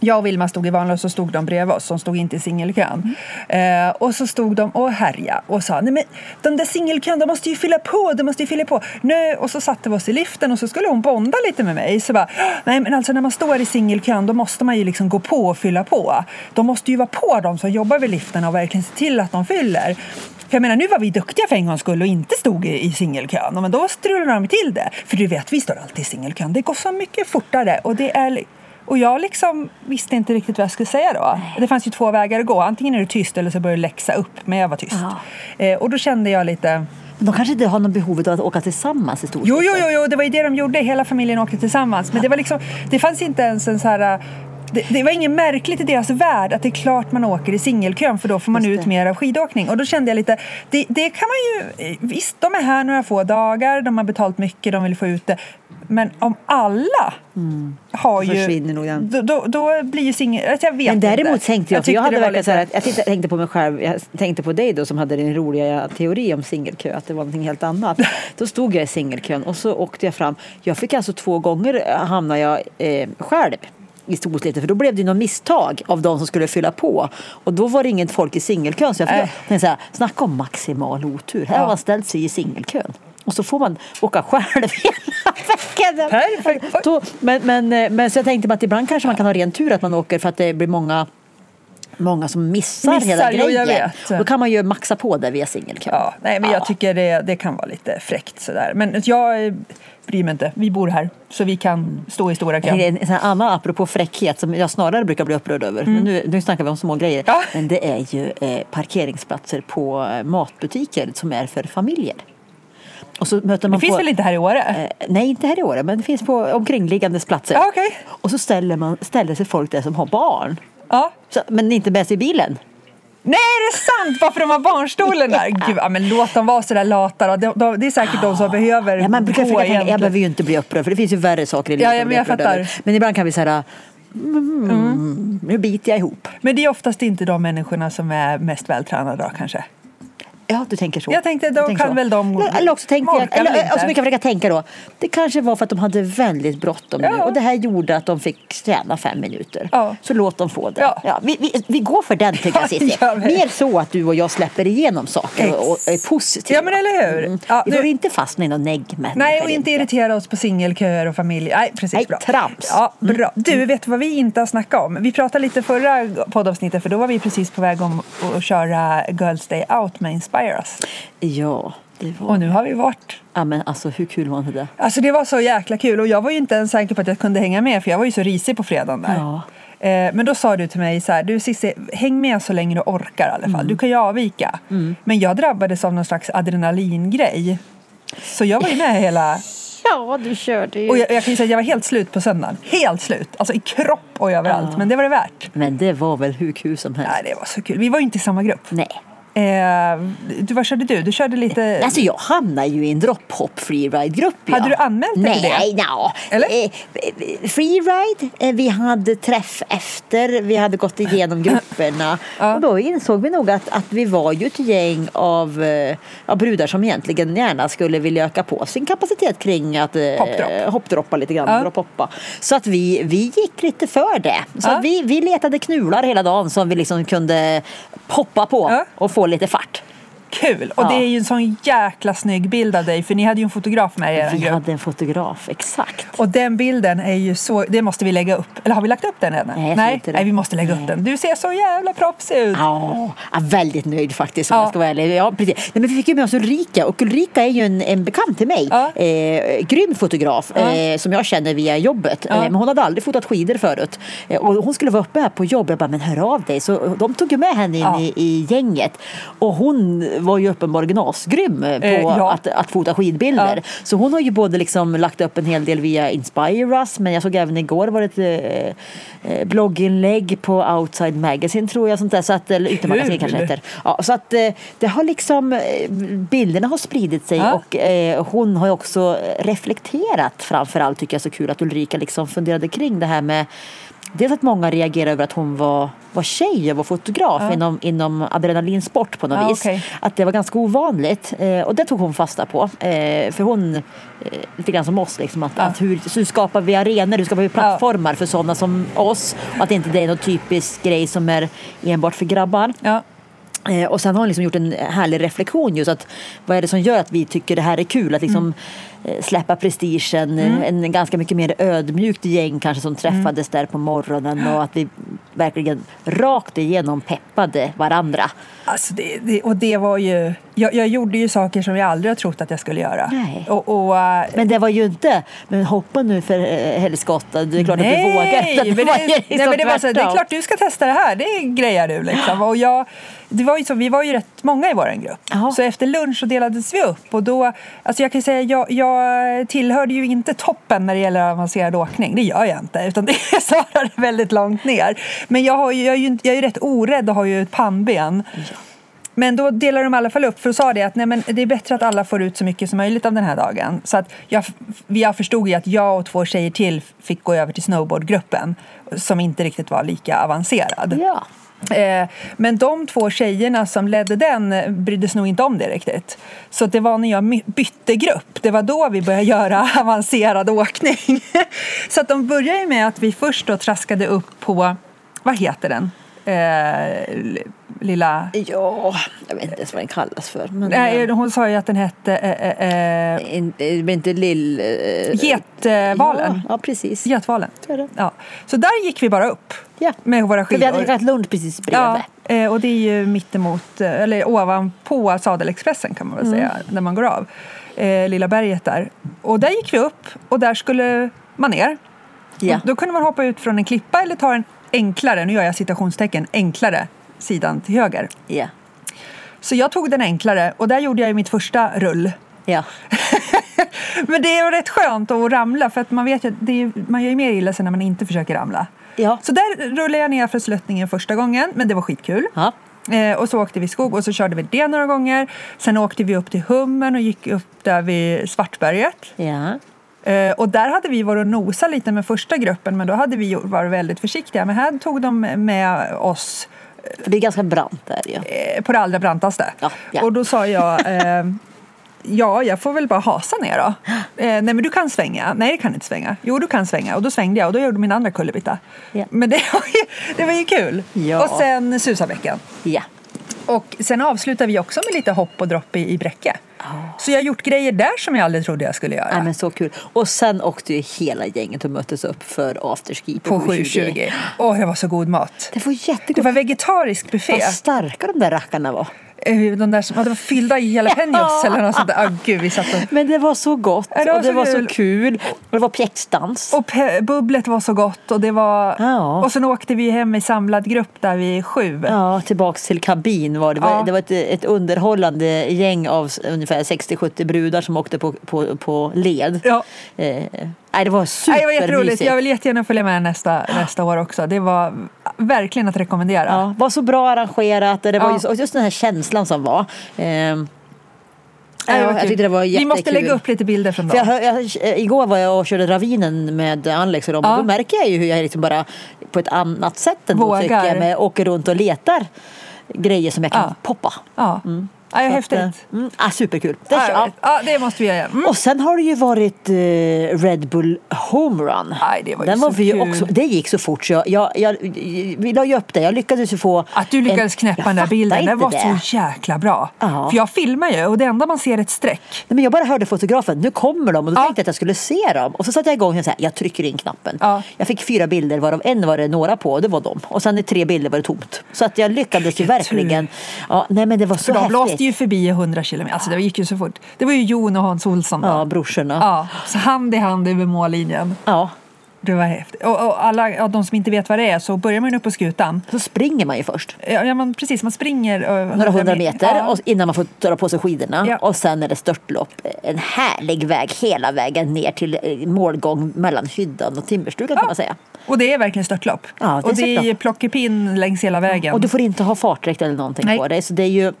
[SPEAKER 3] Jag och Vilma stod i vanlig och så stod de bredvid oss som stod inte i singelkön. Eh, och så stod de och härja och sa nej men de där singelkön de måste ju fylla på, de måste ju fylla på. Nej, och så satte vi oss i liften och så skulle hon bonda lite med mig. Så bara, nej men alltså när man står i singelkön då måste man ju liksom gå på och fylla på. De måste ju vara på de som jobbar vid liften och verkligen se till att de fyller. För jag menar, nu var vi duktiga för en gångs skull och inte stod i i singelkön. Men då strulade de till det. För du vet, vi står alltid i singelkön. Det går så mycket fortare. Och, det är, li- och jag liksom visste inte riktigt vad jag skulle säga då. Det fanns ju två vägar att gå. Antingen är du tyst eller så börjar du läxa upp. Men jag var tyst. Eh, och då kände jag lite...
[SPEAKER 2] Men de kanske inte har något behov av att åka tillsammans i stort
[SPEAKER 3] Jo,
[SPEAKER 2] sett.
[SPEAKER 3] jo, jo, jo, det var ju det de gjorde. Hela familjen åkte tillsammans. Men det var liksom, det fanns inte ens en så här... Det, det var inget märkligt i deras värld att det är klart man åker i singelkön för då får man
[SPEAKER 2] Just
[SPEAKER 3] ut
[SPEAKER 2] det.
[SPEAKER 3] mer av skidåkning. Och då kände jag lite, det, det kan man ju... Visst, de är här några få dagar, de har betalt mycket, de vill få ut det. Men om alla har ju...
[SPEAKER 2] Mm. Försvinner nog den.
[SPEAKER 3] Då, då, då blir ju singel... alltså Jag vet
[SPEAKER 2] Men däremot
[SPEAKER 3] inte.
[SPEAKER 2] tänkte jag, för
[SPEAKER 3] tyckte
[SPEAKER 2] jag, hade
[SPEAKER 3] det var
[SPEAKER 2] verkligen så här,
[SPEAKER 3] lite-
[SPEAKER 2] att- jag tänkte, tänkte på mig själv, jag tänkte på dig då som hade din roliga teori om singelkö, att det var någonting helt annat. Då stod jag i singelkön och så åkte jag fram. Jag fick alltså två gånger eh, hamna jag eh, själv i storslite, för då blev det ju något misstag av de som skulle fylla på. Och då var det inget folk i singelkön. Så jag fick,
[SPEAKER 3] Nej.
[SPEAKER 2] tänkte så här, snacka om maximal otur. Här
[SPEAKER 3] Ja.
[SPEAKER 2] har man ställt sig i singelkön. Och så får man åka själv hela veckan.
[SPEAKER 3] Perfekt. Oj.
[SPEAKER 2] Då, men, men, eh, men så jag tänkte bara att ibland kanske man kan ha ren tur att man åker för att det blir många Många som missar,
[SPEAKER 3] Missar,
[SPEAKER 2] hela
[SPEAKER 3] jo,
[SPEAKER 2] grejen.
[SPEAKER 3] jag vet.
[SPEAKER 2] Då kan man ju maxa på det via singelkön.
[SPEAKER 3] Ja, nej, men
[SPEAKER 2] Ja.
[SPEAKER 3] jag tycker det, det kan vara lite fräckt sådär. Men jag eh, bryr mig inte. Vi bor här, så vi kan stå i stora
[SPEAKER 2] Det är
[SPEAKER 3] kön.
[SPEAKER 2] en sån här annan apropå fräckhet som jag snarare brukar bli upprörd över. Men nu, nu snackar vi om små grejer.
[SPEAKER 3] Mm. Ja.
[SPEAKER 2] Men det är ju eh, parkeringsplatser på eh, matbutiker som är för familjer. Och så möter man
[SPEAKER 3] Det finns
[SPEAKER 2] på,
[SPEAKER 3] väl inte här i Åre?
[SPEAKER 2] Eh, nej, inte här i Åre, men det finns på omkringliggandes platser.
[SPEAKER 3] Ja, okej.
[SPEAKER 2] Och så ställer, man, ställer sig folk där som har barn.
[SPEAKER 3] Ja.
[SPEAKER 2] Så, men inte med sig i bilen.
[SPEAKER 3] Nej, är det sant? Varför de har barnstolen där? Gud, ja, men låt dem vara sådär lata då. De, de, det är säkert de som behöver
[SPEAKER 2] Ja, man brukar
[SPEAKER 3] gå
[SPEAKER 2] försöka tänka, jag
[SPEAKER 3] egentligen.
[SPEAKER 2] behöver ju inte bli upprörd för det finns ju värre saker i livet
[SPEAKER 3] Ja,
[SPEAKER 2] att
[SPEAKER 3] ja, men
[SPEAKER 2] bli
[SPEAKER 3] jag
[SPEAKER 2] upprörd
[SPEAKER 3] fattar.
[SPEAKER 2] över. Men ibland kan vi säga, mm, nu biter jag ihop.
[SPEAKER 3] Men det är oftast inte de människorna som är mest vältränade då kanske.
[SPEAKER 2] Ja, du tänker så.
[SPEAKER 3] Jag tänkte, då
[SPEAKER 2] Du tänker
[SPEAKER 3] kan väl de-
[SPEAKER 2] Eller- Eller också tänkte jag,
[SPEAKER 3] orkar väl
[SPEAKER 2] eller,
[SPEAKER 3] inte.
[SPEAKER 2] och så brukar jag försöka tänka då. Det kanske var för att de hade väldigt bråttom nu
[SPEAKER 3] Ja.
[SPEAKER 2] och det här gjorde att de fick träna fem minuter.
[SPEAKER 3] Ja.
[SPEAKER 2] Så låt dem få det.
[SPEAKER 3] Ja.
[SPEAKER 2] vi, vi, vi går för den tycker
[SPEAKER 3] Ja,
[SPEAKER 2] jag Cissi.
[SPEAKER 3] gör vi.
[SPEAKER 2] Mer så att du och jag släpper igenom saker och, och är positiva. Mm.
[SPEAKER 3] Ja, men eller hur? Ja,
[SPEAKER 2] vi
[SPEAKER 3] nu-
[SPEAKER 2] får inte fastna i någon negg
[SPEAKER 3] Nej, och inte irritera oss på singelköer och familj. Nej, precis.
[SPEAKER 2] Nej,
[SPEAKER 3] bra.
[SPEAKER 2] trams. Mm.
[SPEAKER 3] Ja, bra. Du, vet du vad vi inte har snackat om? Vi pratade lite förra poddavsnittet för då var vi precis på väg om att köra Girls Day Out med Inspire Us.
[SPEAKER 2] Ja, det var...
[SPEAKER 3] Och nu har vi varit.
[SPEAKER 2] Ja, men alltså hur kul var inte det?
[SPEAKER 3] Alltså det var så jäkla kul och jag var ju inte ens säker på att jag kunde hänga med för jag var ju så risig på fredagen där.
[SPEAKER 2] Ja.
[SPEAKER 3] Eh, Men då sa du till mig så här, du Cissi, häng med så länge du orkar i alla
[SPEAKER 2] Mm.
[SPEAKER 3] fall. Du kan ju avvika. Men jag drabbades av någon slags adrenalingrej. Så jag var ju med hela
[SPEAKER 2] Ja, du körde ju.
[SPEAKER 3] Och jag, jag kan ju säga att jag var helt slut på söndagen. Helt slut. Alltså i kropp och överallt. Men det var det värt.
[SPEAKER 2] Men det var väl hur kul som helst.
[SPEAKER 3] Nej, det var så kul. Vi var ju inte i samma grupp.
[SPEAKER 2] Nej.
[SPEAKER 3] Eh, du, vad körde du? Du körde lite...
[SPEAKER 2] Alltså jag hamnade ju i en dropphopp freeride-grupp. ja.
[SPEAKER 3] Eh, Hade du anmält dig
[SPEAKER 2] Nej,
[SPEAKER 3] till det?
[SPEAKER 2] Nej, no.
[SPEAKER 3] Eller?
[SPEAKER 2] Eh, eh, freeride, eh, vi hade träff efter, vi hade gått igenom grupperna.
[SPEAKER 3] Ja.
[SPEAKER 2] Och då insåg vi nog att, att vi var ju ett gäng av, eh, av brudar som egentligen gärna skulle vilja öka på sin kapacitet kring att eh,
[SPEAKER 3] Hoppdropp.
[SPEAKER 2] hoppdroppa lite grann.
[SPEAKER 3] Ja.
[SPEAKER 2] Dropphoppa. Så att vi, vi gick lite för det. Så
[SPEAKER 3] Ja.
[SPEAKER 2] att vi, vi letade knular hela dagen som vi liksom kunde hoppa på
[SPEAKER 3] Ja.
[SPEAKER 2] och få lite fart.
[SPEAKER 3] Kul! Och
[SPEAKER 2] Ja.
[SPEAKER 3] det är ju en sån jäkla snygg bild av dig. För ni hade ju en fotograf med er i er
[SPEAKER 2] Vi
[SPEAKER 3] grupp.
[SPEAKER 2] hade en fotograf, exakt.
[SPEAKER 3] Och den bilden är ju så... Det måste vi lägga upp. Eller har vi lagt upp den än?
[SPEAKER 2] Nej, jag tror
[SPEAKER 3] Nej?
[SPEAKER 2] inte det.
[SPEAKER 3] Nej, vi måste lägga upp den. Du ser så jävla proffsig ut.
[SPEAKER 2] Ja, jag är väldigt nöjd faktiskt om
[SPEAKER 3] Ja.
[SPEAKER 2] jag ska vara ärlig. Ja, precis. Nej, men vi fick ju med oss Ulrika och Ulrika är ju en, en bekant till mig.
[SPEAKER 3] Ja.
[SPEAKER 2] Eh, grym fotograf
[SPEAKER 3] Ja.
[SPEAKER 2] eh, som jag känner via jobbet.
[SPEAKER 3] Ja.
[SPEAKER 2] Eh, men hon hade aldrig fotat skidor förut. Eh, och hon skulle vara uppe här på jobb. Jag bara, men hör av dig. Så de tog ju med henne in
[SPEAKER 3] Ja.
[SPEAKER 2] i, i gänget. Och hon var ju uppenbarligen asgrym eh, på
[SPEAKER 3] Eh, ja.
[SPEAKER 2] att, att fota skidbilder.
[SPEAKER 3] Ja.
[SPEAKER 2] Så hon har ju både liksom lagt upp en hel del via Inspire Us men jag såg även igår var det ett eh, eh, blogginlägg på Outside Magazine tror jag sånt där, så att, eller utemagasin
[SPEAKER 3] Kul!
[SPEAKER 2] kanske heter. Ja, så att eh, det har liksom eh, bilderna har spridit sig
[SPEAKER 3] Ja.
[SPEAKER 2] och eh, hon har ju också reflekterat framförallt tycker jag så kul att Ulrika liksom funderade kring det här med Dels att många reagerade över att hon var, var tjej och var fotograf inom, inom adrenalinsport på något
[SPEAKER 3] Ja,
[SPEAKER 2] vis.
[SPEAKER 3] okej.
[SPEAKER 2] Att det var ganska ovanligt. Eh, och det tog hon fasta på. Eh, för hon, eh, lite grann som oss, liksom, att, att hur, så hur skapar vi arenor, hur skapar vi plattformar för sådana som oss? Och att inte det är någon typisk grej som är enbart för grabbar.
[SPEAKER 3] Ja.
[SPEAKER 2] Eh, Och sen har hon liksom gjort en härlig reflektion just att vad är det som gör att vi tycker det här är kul? Att liksom eh, släppa prestigen, eh, en ganska mycket mer ödmjukt gäng kanske som träffades där på morgonen och att vi verkligen rakt igenom peppade varandra.
[SPEAKER 3] Alltså det, det, och det var ju, jag, jag gjorde ju saker som jag aldrig har trott att jag skulle göra.
[SPEAKER 2] Nej.
[SPEAKER 3] Och, och, äh,
[SPEAKER 2] Men det var ju inte, men hoppa nu för eh, helskotta, det är klart att du vågar. Utan
[SPEAKER 3] men det,
[SPEAKER 2] var ju
[SPEAKER 3] nej,
[SPEAKER 2] liksom
[SPEAKER 3] men det var så, här, det är
[SPEAKER 2] tvärtom.
[SPEAKER 3] klart du ska testa det här, det grejar du liksom. Och jag, det var ju så, vi var ju rätt många i vår grupp.
[SPEAKER 2] Ja.
[SPEAKER 3] Så efter lunch så delades vi upp och då, alltså jag kan ju säga, jag, jag tillhörde ju inte toppen när det gäller avancerad åkning, det gör jag inte, utan det är snarare väldigt långt ner. Men jag, har ju, jag, är ju, inte- jag är ju rätt orädd och har ju ett pannben. Men då delar de i alla fall upp, för då sa det att nej, men det är bättre att alla får ut så mycket som möjligt av den här dagen. Så att jag, f- jag förstod ju att jag och två tjejer till fick gå över till snowboardgruppen som inte riktigt var lika avancerad.
[SPEAKER 2] Ja.
[SPEAKER 3] Eh, Men de två tjejerna som ledde den eh, brydde sig nog inte om det riktigt. Så det var när jag my- bytte grupp, det var då vi började göra avancerad åkning. Så att de började ju med att vi först då traskade upp på, vad heter den? Eh, l- lilla...
[SPEAKER 2] ja, jag vet inte ens vad den kallas för. Men,
[SPEAKER 3] Nej, hon sa ju att den hette eh, eh, eh,
[SPEAKER 2] In- eh, men inte lill... eh,
[SPEAKER 3] Getvalen.
[SPEAKER 2] Ja, ja precis.
[SPEAKER 3] Getvalen.
[SPEAKER 2] Så är det.
[SPEAKER 3] Ja. Så där gick vi bara upp
[SPEAKER 2] Ja.
[SPEAKER 3] med våra
[SPEAKER 2] För vi hade
[SPEAKER 3] skidor.
[SPEAKER 2] drickat lunch precis bredvid.
[SPEAKER 3] Ja, eh, och det är ju mittemot, eh, eller ovanpå Sadelexpressen kan man
[SPEAKER 2] Mm.
[SPEAKER 3] väl säga, när man går av. Eh, Lilla berget där. Och där gick vi upp och där skulle man ner.
[SPEAKER 2] Ja.
[SPEAKER 3] Då kunde man hoppa ut från en klippa eller ta den enklare, nu gör jag citationstecken, enklare sidan till höger.
[SPEAKER 2] Ja.
[SPEAKER 3] Så jag tog den enklare och där gjorde jag ju mitt första rull.
[SPEAKER 2] ja.
[SPEAKER 3] Men det är ju rätt skönt att ramla för att man vet ju att det är, man gör ju mer illa sig när man inte försöker ramla.
[SPEAKER 2] Ja.
[SPEAKER 3] Så där rullade jag ner för sluttningen första gången, men det var skitkul.
[SPEAKER 2] Ja.
[SPEAKER 3] Eh, och så åkte vi skog och så körde vi det några gånger. Sen åkte vi upp till Hummen och gick upp där vid Svartberget.
[SPEAKER 2] Ja.
[SPEAKER 3] Eh, och där hade vi varit och nosat lite med första gruppen, men då hade vi gjort- varit väldigt försiktiga. Men här tog de med oss
[SPEAKER 2] För det är ganska brant där ju.
[SPEAKER 3] eh, på det allra brantaste.
[SPEAKER 2] Ja, ja.
[SPEAKER 3] Och då sa jag, eh, ja, jag får väl bara hasa ner då. Eh, nej, men du kan svänga. Nej, det kan du inte svänga. Jo, du kan svänga. Och då svängde jag och då gjorde min andra kullerbytta.
[SPEAKER 2] Ja.
[SPEAKER 3] Men det var, ju, det var ju kul.
[SPEAKER 2] Ja.
[SPEAKER 3] Och sen susaveckan.
[SPEAKER 2] Ja.
[SPEAKER 3] Och sen avslutar vi också med lite hopp och dropp i, i Bräcke. Så jag har gjort grejer där som jag aldrig trodde jag skulle göra.
[SPEAKER 2] Nej, men så kul. Och sen åkte ju hela gänget och möttes upp för afterski på,
[SPEAKER 3] på
[SPEAKER 2] 7.20.
[SPEAKER 3] 7.20. Åh, det var så god mat.
[SPEAKER 2] Det var
[SPEAKER 3] Det
[SPEAKER 2] jättegott.
[SPEAKER 3] var vegetarisk buffé.
[SPEAKER 2] Vad starka de där rackarna var.
[SPEAKER 3] Eh, De där som, ja, det var fyllda i jalapenos eller något sånt där. Ah, gud, vi satt och...
[SPEAKER 2] Men det var så gott
[SPEAKER 3] Ja, det var
[SPEAKER 2] och det
[SPEAKER 3] så
[SPEAKER 2] var så
[SPEAKER 3] kul.
[SPEAKER 2] kul. Och det var pjäxdans.
[SPEAKER 3] Och pe- bubblet var så gott och det var...
[SPEAKER 2] Ja.
[SPEAKER 3] Och sen åkte vi hem i samlad grupp där vid sju.
[SPEAKER 2] Ja, tillbaks till kabin var det. Det var-
[SPEAKER 3] Ja.
[SPEAKER 2] Det var ett, ett underhållande gäng av s- ungefär 60-70 brudar som åkte på, på, på led.
[SPEAKER 3] Ja.
[SPEAKER 2] Eh, nej, det var
[SPEAKER 3] Nej, det var jätteroligt.
[SPEAKER 2] supermysigt.
[SPEAKER 3] Jag vill jättegärna följa med nästa, nästa år också. Det var verkligen att rekommendera.
[SPEAKER 2] Ja, var så bra arrangerat och det var
[SPEAKER 3] Ja.
[SPEAKER 2] just, och just den här känslan som var. Ehm,
[SPEAKER 3] Nej, det
[SPEAKER 2] ja,
[SPEAKER 3] var
[SPEAKER 2] jag
[SPEAKER 3] kul.
[SPEAKER 2] tyckte det var
[SPEAKER 3] Vi
[SPEAKER 2] jättekul.
[SPEAKER 3] måste lägga upp lite bilder från
[SPEAKER 2] För jag,
[SPEAKER 3] dem.
[SPEAKER 2] hör- jag, igår var jag och körde ravinen med Alex och dem
[SPEAKER 3] Ja.
[SPEAKER 2] och då märker jag ju hur jag liksom bara på ett annat sätt än
[SPEAKER 3] Vågar.
[SPEAKER 2] Vågar. tycker jag med, åker runt och letar grejer som jag kan
[SPEAKER 3] Ja.
[SPEAKER 2] poppa.
[SPEAKER 3] Ja. Ja,
[SPEAKER 2] Mm. Så att,
[SPEAKER 3] häftigt.
[SPEAKER 2] eh, Mm, ah, superkul. Det,
[SPEAKER 3] Ja, jag
[SPEAKER 2] ja.
[SPEAKER 3] vet. ja, det måste vi göra. Mm.
[SPEAKER 2] Och sen har det ju varit eh, Red Bull Homerun.
[SPEAKER 3] Aj, det var ju
[SPEAKER 2] Den
[SPEAKER 3] så
[SPEAKER 2] var vi ju
[SPEAKER 3] kul.
[SPEAKER 2] också, det gick så fort så jag, jag, jag, vi la ju upp det. Jag lyckades ju få...
[SPEAKER 3] Att du lyckades
[SPEAKER 2] en-
[SPEAKER 3] knäppa
[SPEAKER 2] Jag
[SPEAKER 3] den där
[SPEAKER 2] fattar
[SPEAKER 3] bilden,
[SPEAKER 2] inte
[SPEAKER 3] den var
[SPEAKER 2] det.
[SPEAKER 3] så jäkla bra.
[SPEAKER 2] Ja.
[SPEAKER 3] För jag filmar ju och det enda man ser är ett streck.
[SPEAKER 2] Nej, men jag bara hörde fotografen, nu kommer de och då
[SPEAKER 3] Ja.
[SPEAKER 2] tänkte jag att jag skulle se dem. Och så satte jag igång och så här, jag trycker in knappen.
[SPEAKER 3] Ja.
[SPEAKER 2] Jag fick fyra bilder varav en var det några på och det var de. Och sen i tre bilder var det tomt. Så att jag lyckades ju
[SPEAKER 3] Vilken
[SPEAKER 2] verkligen. Ja, nej men det var så
[SPEAKER 3] För de
[SPEAKER 2] häftigt.
[SPEAKER 3] blåste ju förbi i 100 kilometer, alltså det gick ju så fort. Det var ju Jon och Hans Olsson då.
[SPEAKER 2] Ja, brorsorna.
[SPEAKER 3] Ja, så hand i hand över mållinjen.
[SPEAKER 2] Ja,
[SPEAKER 3] Det var häftigt. Och, och alla ja, de som inte vet vad det är, så börjar man upp på skutan.
[SPEAKER 2] Så springer man ju först.
[SPEAKER 3] Ja, ja, man, precis, man springer eh,
[SPEAKER 2] Några hundra
[SPEAKER 3] me-
[SPEAKER 2] meter
[SPEAKER 3] Ja.
[SPEAKER 2] och innan man får dra på sig skidorna.
[SPEAKER 3] Ja.
[SPEAKER 2] Och sen är det störtlopp. En härlig väg hela vägen ner till eh, målgång mellan hyddan och timmerstugan kan man säga.
[SPEAKER 3] Och det är verkligen störtlopp.
[SPEAKER 2] Ja, det är
[SPEAKER 3] och det är
[SPEAKER 2] störtlopp.
[SPEAKER 3] plockepinn längs hela vägen.
[SPEAKER 2] Och du får inte ha fartdräkt eller någonting
[SPEAKER 3] Nej.
[SPEAKER 2] på dig. Så det är ju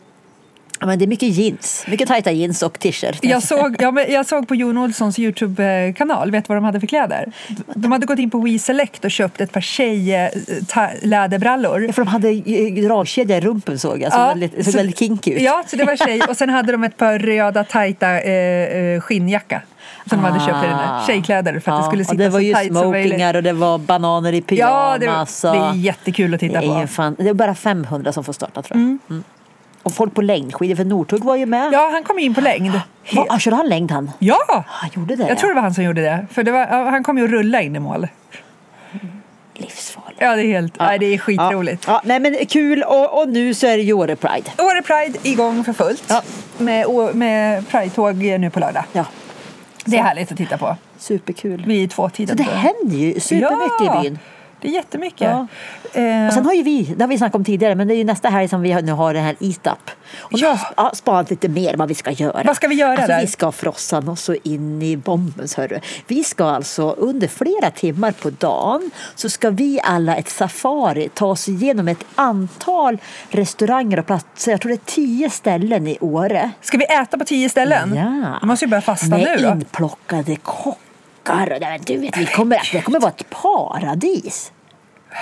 [SPEAKER 2] Ja, men det är mycket jeans. Mycket tajta jeans och t-shirt. Alltså,
[SPEAKER 3] Jag såg, ja, men jag såg på Jon Olssons Youtube-kanal, vet du vad de hade för kläder? De hade gått in på We Select och köpt ett par tjej-läderbrallor.
[SPEAKER 2] Ja, För de hade eh, dragkedja i rumpen såg jag. Såg
[SPEAKER 3] Ja,
[SPEAKER 2] väldigt, såg
[SPEAKER 3] så-
[SPEAKER 2] väldigt kinky ut.
[SPEAKER 3] Ja, så det var tjej. Och sen hade de ett par röda tajta eh, eh, skinnjacka. Som de hade köpt i den där.
[SPEAKER 2] Ah.
[SPEAKER 3] Tjejkläder för att det
[SPEAKER 2] Ja,
[SPEAKER 3] skulle
[SPEAKER 2] och
[SPEAKER 3] sitta
[SPEAKER 2] det var
[SPEAKER 3] så
[SPEAKER 2] ju
[SPEAKER 3] tajt som möjligt.
[SPEAKER 2] smokingar och det var bananer i
[SPEAKER 3] Ja, det,
[SPEAKER 2] pyjamas.
[SPEAKER 3] det är
[SPEAKER 2] och-
[SPEAKER 3] jättekul att
[SPEAKER 2] det
[SPEAKER 3] titta
[SPEAKER 2] är ju
[SPEAKER 3] på.
[SPEAKER 2] fan, det är bara 500 som får starta tror jag. Mm. Och folk på längdskidor, för Northug var ju med.
[SPEAKER 3] Ja, han kom ju in på längd.
[SPEAKER 2] Va, ah, körde han längd han?
[SPEAKER 3] Ja!
[SPEAKER 2] Han gjorde det? ja.
[SPEAKER 3] Jag tror det var han som gjorde det. För det var, ja, han kom ju att rulla in i mål.
[SPEAKER 2] Livsfarligt.
[SPEAKER 3] Ja, det är helt...
[SPEAKER 2] Ah.
[SPEAKER 3] Nej, det är skitroligt.
[SPEAKER 2] Ja. Ja, nej, men kul och, och nu så är det ju Åre Pride.
[SPEAKER 3] Åre Pride igång för fullt.
[SPEAKER 2] Ja.
[SPEAKER 3] Med, å- med Pride-tåg nu på lördag.
[SPEAKER 2] Ja,
[SPEAKER 3] Det är härligt att titta på.
[SPEAKER 2] superkul.
[SPEAKER 3] Vid tvåtiden.
[SPEAKER 2] Så det
[SPEAKER 3] tror jag.
[SPEAKER 2] händer ju supermycket
[SPEAKER 3] ja,
[SPEAKER 2] i byn.
[SPEAKER 3] det är jättemycket.
[SPEAKER 2] Ja.
[SPEAKER 3] Eh,
[SPEAKER 2] Och sen har ju vi, det har vi snackat om tidigare, men det är ju nästa helg som vi har, nu har den här Eatup. Och nu har jag sp- ja, spanat lite mer vad vi ska göra.
[SPEAKER 3] Vad ska vi göra
[SPEAKER 2] alltså,
[SPEAKER 3] där?
[SPEAKER 2] Vi ska frossa oss så in i bombens hörru. Vi ska alltså under flera timmar på dagen så ska vi alla ett safari ta oss igenom ett antal restauranger och platser. Jag tror det är tio ställen i Åre.
[SPEAKER 3] Ska vi äta på tio ställen?
[SPEAKER 2] Ja.
[SPEAKER 3] Vi måste ju börja fasta
[SPEAKER 2] Med
[SPEAKER 3] nu då.
[SPEAKER 2] inplockade kockar. och- Nej, men du vet, vi kommer, att- det kommer vara ett paradis.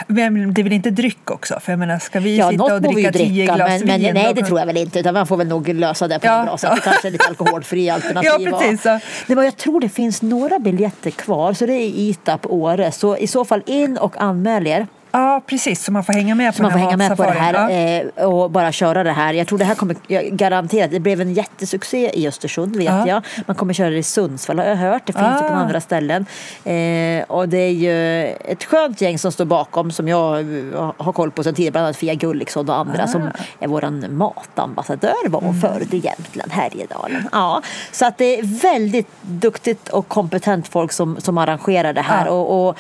[SPEAKER 3] Men det är väl inte dryck också? För jag menar, ska vi
[SPEAKER 2] Ja,
[SPEAKER 3] sitta och
[SPEAKER 2] något må vi ju
[SPEAKER 3] dricka tio
[SPEAKER 2] dricka,
[SPEAKER 3] glas
[SPEAKER 2] men, men
[SPEAKER 3] vin?
[SPEAKER 2] nej
[SPEAKER 3] och-
[SPEAKER 2] det tror jag väl inte. Utan man får väl nog lösa det på
[SPEAKER 3] Ja,
[SPEAKER 2] något bra sätt.
[SPEAKER 3] ja.
[SPEAKER 2] Kanske lite alkoholfria alternativ.
[SPEAKER 3] Ja, precis,
[SPEAKER 2] och-
[SPEAKER 3] ja.
[SPEAKER 2] Nej, men jag tror det finns några biljetter kvar, så det är ITAP Åre. Så i så fall in och anmäl er.
[SPEAKER 3] Ja, precis. Så man får hänga med på
[SPEAKER 2] Så man får
[SPEAKER 3] den
[SPEAKER 2] hänga med på det
[SPEAKER 3] matsafarin.
[SPEAKER 2] här
[SPEAKER 3] Ja.
[SPEAKER 2] eh, och bara köra det här. Jag tror det här kommer jag, garanterat, det blev en jättesuccé i Östersund vet
[SPEAKER 3] Ja.
[SPEAKER 2] jag. Man kommer köra det i Sundsvall har jag hört. Det finns ju på
[SPEAKER 3] Ah.
[SPEAKER 2] andra ställen. Eh, och det är ju ett skönt gäng som står bakom som jag eh, har koll på sen tidigare. Bland annat Fia Gulliksson och andra som
[SPEAKER 3] Ah.
[SPEAKER 2] är våran matambassadör var
[SPEAKER 3] Mm.
[SPEAKER 2] hon förut i Jämtland, Härjedalen. Ja, så att det är väldigt duktigt och kompetent folk som, som arrangerar det här.
[SPEAKER 3] Ja.
[SPEAKER 2] Och, och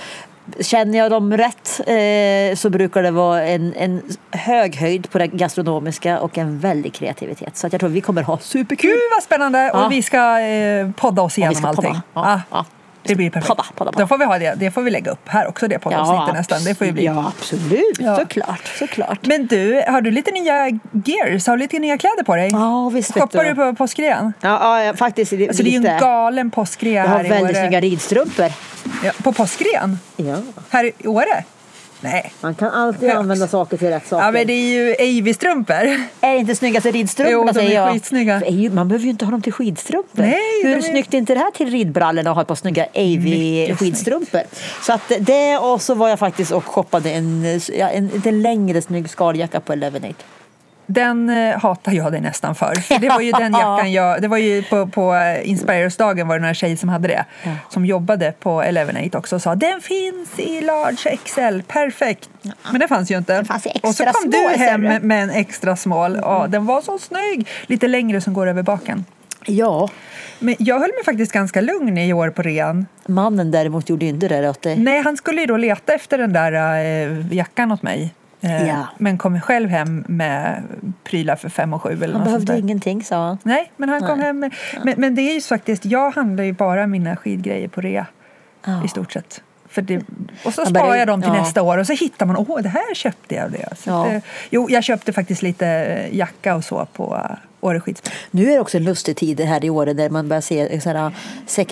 [SPEAKER 2] Känner jag dem rätt eh, så brukar det vara en, en hög höjd på det gastronomiska och en väldig kreativitet. Så att jag tror vi kommer ha superkul.
[SPEAKER 3] Gud vad spännande!
[SPEAKER 2] Ja.
[SPEAKER 3] Och vi ska eh, podda oss igenom
[SPEAKER 2] ska
[SPEAKER 3] allting.
[SPEAKER 2] podda. Ja, ja.
[SPEAKER 3] Ah. Det blir perfekt.
[SPEAKER 2] Podda, podda, podda.
[SPEAKER 3] Då får vi ha det. Det får vi lägga upp här också, det poddavsnittet nästan. Det får ju bli.
[SPEAKER 2] Ja, absolut.
[SPEAKER 3] Ja.
[SPEAKER 2] Såklart. såklart.
[SPEAKER 3] Men du, har du lite nya gears? Har du lite nya kläder på dig?
[SPEAKER 2] Ja, visst vet
[SPEAKER 3] Shoppar
[SPEAKER 2] du.
[SPEAKER 3] du på påskrean?
[SPEAKER 2] Ja, ja, faktiskt li-
[SPEAKER 3] Alltså det är
[SPEAKER 2] lite.
[SPEAKER 3] ju en galen påskrea
[SPEAKER 2] jag har
[SPEAKER 3] här i
[SPEAKER 2] väldigt
[SPEAKER 3] Åre.
[SPEAKER 2] snygga ridstrumpor.
[SPEAKER 3] Ja, på påskrean?
[SPEAKER 2] Ja.
[SPEAKER 3] Här i Åre? Nej.
[SPEAKER 2] Man kan alltid
[SPEAKER 3] Högt.
[SPEAKER 2] använda saker till rätt saker.
[SPEAKER 3] Ja, men det är ju Avy-strumpor.
[SPEAKER 2] Är det inte snyggaste
[SPEAKER 3] Jo,
[SPEAKER 2] ridstrumporna
[SPEAKER 3] de är
[SPEAKER 2] säger jag?
[SPEAKER 3] skitsnygga.
[SPEAKER 2] För är ju- Man behöver ju inte ha dem till skidstrumpor.
[SPEAKER 3] Nej,
[SPEAKER 2] Hur
[SPEAKER 3] de är-
[SPEAKER 2] snyggt är inte det här till ridbrallorna att ha ett par snygga
[SPEAKER 3] Mycket
[SPEAKER 2] AV-skidstrumpor? Så att det och så var jag faktiskt och shoppade en, ja, en lite längre snygg skaljacka på Elevenate.
[SPEAKER 3] Den eh, hatar jag dig nästan för. för det var ju den jackan jag... Det var ju på, på eh, Inspirers-dagen var det några tjejer som hade det. Som jobbade på Elevenate också och sa den finns i large XL, perfekt. Men det fanns ju inte.
[SPEAKER 2] fanns i extra
[SPEAKER 3] och så kom
[SPEAKER 2] small,
[SPEAKER 3] du
[SPEAKER 2] ser
[SPEAKER 3] hem
[SPEAKER 2] du. Mm.
[SPEAKER 3] med en extra smal. Ja, den var så snygg! Lite längre som går över baken.
[SPEAKER 2] Ja,
[SPEAKER 3] Men jag höll mig faktiskt ganska lugn i år på rean.
[SPEAKER 2] mannen däremot gjorde ju inte det där åt dig.
[SPEAKER 3] Nej, han skulle ju då leta efter den där eh, jackan åt mig. Eh,
[SPEAKER 2] Ja.
[SPEAKER 3] Men kom själv hem med prylar för fem och sju
[SPEAKER 2] Han
[SPEAKER 3] eller något sånt
[SPEAKER 2] behövde
[SPEAKER 3] där.
[SPEAKER 2] ingenting sa han.
[SPEAKER 3] Nej, men han kom
[SPEAKER 2] Nej.
[SPEAKER 3] hem. Med, men, men det är ju så faktiskt, jag handlar ju bara mina skidgrejer på rea
[SPEAKER 2] Ja.
[SPEAKER 3] i stort sett. För det, och så
[SPEAKER 2] Man börjar-
[SPEAKER 3] sparar jag dem till
[SPEAKER 2] ja.
[SPEAKER 3] nästa år och så hittar man, åh det här köpte jag. av Det. Så
[SPEAKER 2] Ja.
[SPEAKER 3] att, eh, jo, jag köpte faktiskt lite eh, jacka och så på eh, Åre skidspår.
[SPEAKER 2] Nu är det också en lustig tid det här i året där man börjar se eh, sådana,